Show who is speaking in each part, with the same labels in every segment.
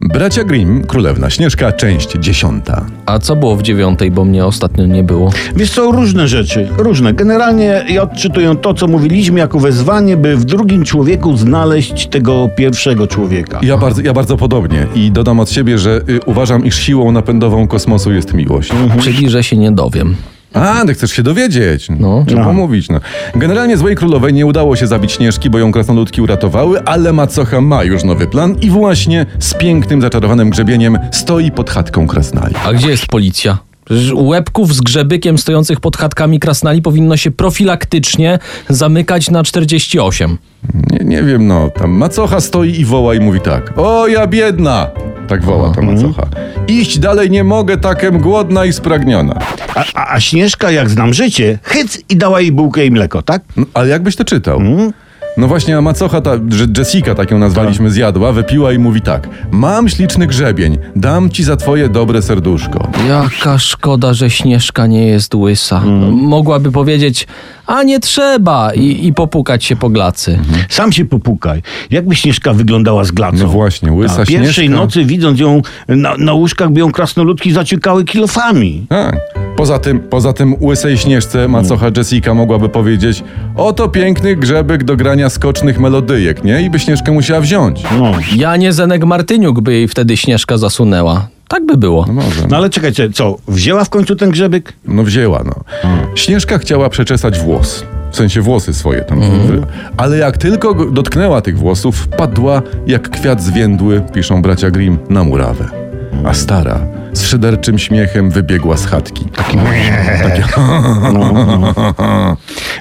Speaker 1: Bracia Grimm, Królewna Śnieżka, część dziesiąta.
Speaker 2: A co było w dziewiątej, bo mnie ostatnio nie było?
Speaker 3: Wiesz co, różne rzeczy, różne. Generalnie ja odczytuję to, co mówiliśmy jako wezwanie, by w drugim człowieku znaleźć tego pierwszego człowieka.
Speaker 1: Ja bardzo, ja bardzo podobnie i dodam od siebie, że y, uważam, iż siłą napędową kosmosu jest miłość.
Speaker 2: Czyli, że się nie dowiem.
Speaker 1: A, ty chcesz się dowiedzieć. No.
Speaker 2: No.
Speaker 1: Trzeba
Speaker 3: No.
Speaker 1: pomówić, no. Generalnie złej królowej nie udało się zabić Śnieżki, bo ją krasnoludki uratowały, ale macocha ma już nowy plan i właśnie z pięknym, zaczarowanym grzebieniem stoi pod chatką krasnali.
Speaker 2: A gdzie jest policja? Przecież łebków z grzebykiem stojących pod chatkami krasnali powinno się profilaktycznie zamykać na 48.
Speaker 1: Nie, nie wiem, no, tam macocha stoi i woła i mówi tak. O, ja biedna! Tak woła ta macocha. Iść dalej nie mogę, takem głodna i spragniona.
Speaker 3: A, a, a Śnieżka, jak znam życie, hyc i dała jej bułkę i mleko, tak?
Speaker 1: No, ale jakbyś to czytał? No właśnie, a macocha ta, Je- Jessica, tak ją nazwaliśmy, zjadła, wypiła i mówi tak. Mam śliczny grzebień, dam ci za twoje dobre serduszko.
Speaker 2: Jaka szkoda, że Śnieżka nie jest łysa. Mogłaby powiedzieć, a nie trzeba i, i popukać się po glacy.
Speaker 3: Sam się popukaj. Jakby Śnieżka wyglądała z glacą?
Speaker 1: No właśnie, łysa
Speaker 3: A Pierwszej
Speaker 1: Śnieżka.
Speaker 3: nocy widząc ją na, na łóżkach, by ją krasnoludki zaciekały kilofami.
Speaker 1: Tak. Poza tym, poza tym łysej śnieżce macocha Jessica mogłaby powiedzieć oto piękny grzebek do grania skocznych melodyjek, nie? I by śnieżkę musiała wziąć.
Speaker 3: No.
Speaker 2: Ja nie Zenek Martyniuk by jej wtedy Śnieżka zasunęła. Tak by było.
Speaker 1: No może.
Speaker 3: no ale czekajcie, co, wzięła w końcu ten grzebyk?
Speaker 1: No wzięła, no. Śnieżka chciała przeczesać włos. W sensie włosy swoje tam. Ale jak tylko go- dotknęła tych włosów, wpadła jak kwiat zwiędły, piszą bracia Grimm, na murawę. A stara z szyderczym śmiechem wybiegła z chatki. Tak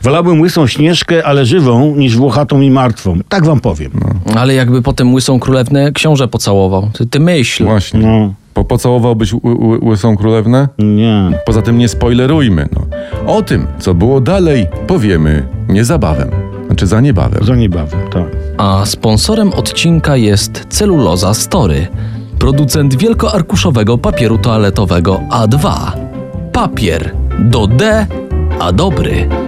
Speaker 3: Wolałbym łysą Śnieżkę, ale żywą, niż włochatą i martwą. Tak wam powiem.
Speaker 1: No.
Speaker 2: Ale jakby potem łysą królewnę książę pocałował. Ty, ty myśl.
Speaker 1: Właśnie.
Speaker 3: No.
Speaker 1: Po, pocałowałbyś ł- ł- łysą królewnę?
Speaker 3: Nie.
Speaker 1: Poza tym nie spoilerujmy. No. O tym, co było dalej, powiemy niezabawem. Znaczy za niebawem.
Speaker 3: Za niebawem, tak.
Speaker 2: A sponsorem odcinka jest Celuloza Story, producent wielkoarkuszowego papieru toaletowego A2. Papier do D, a dobry.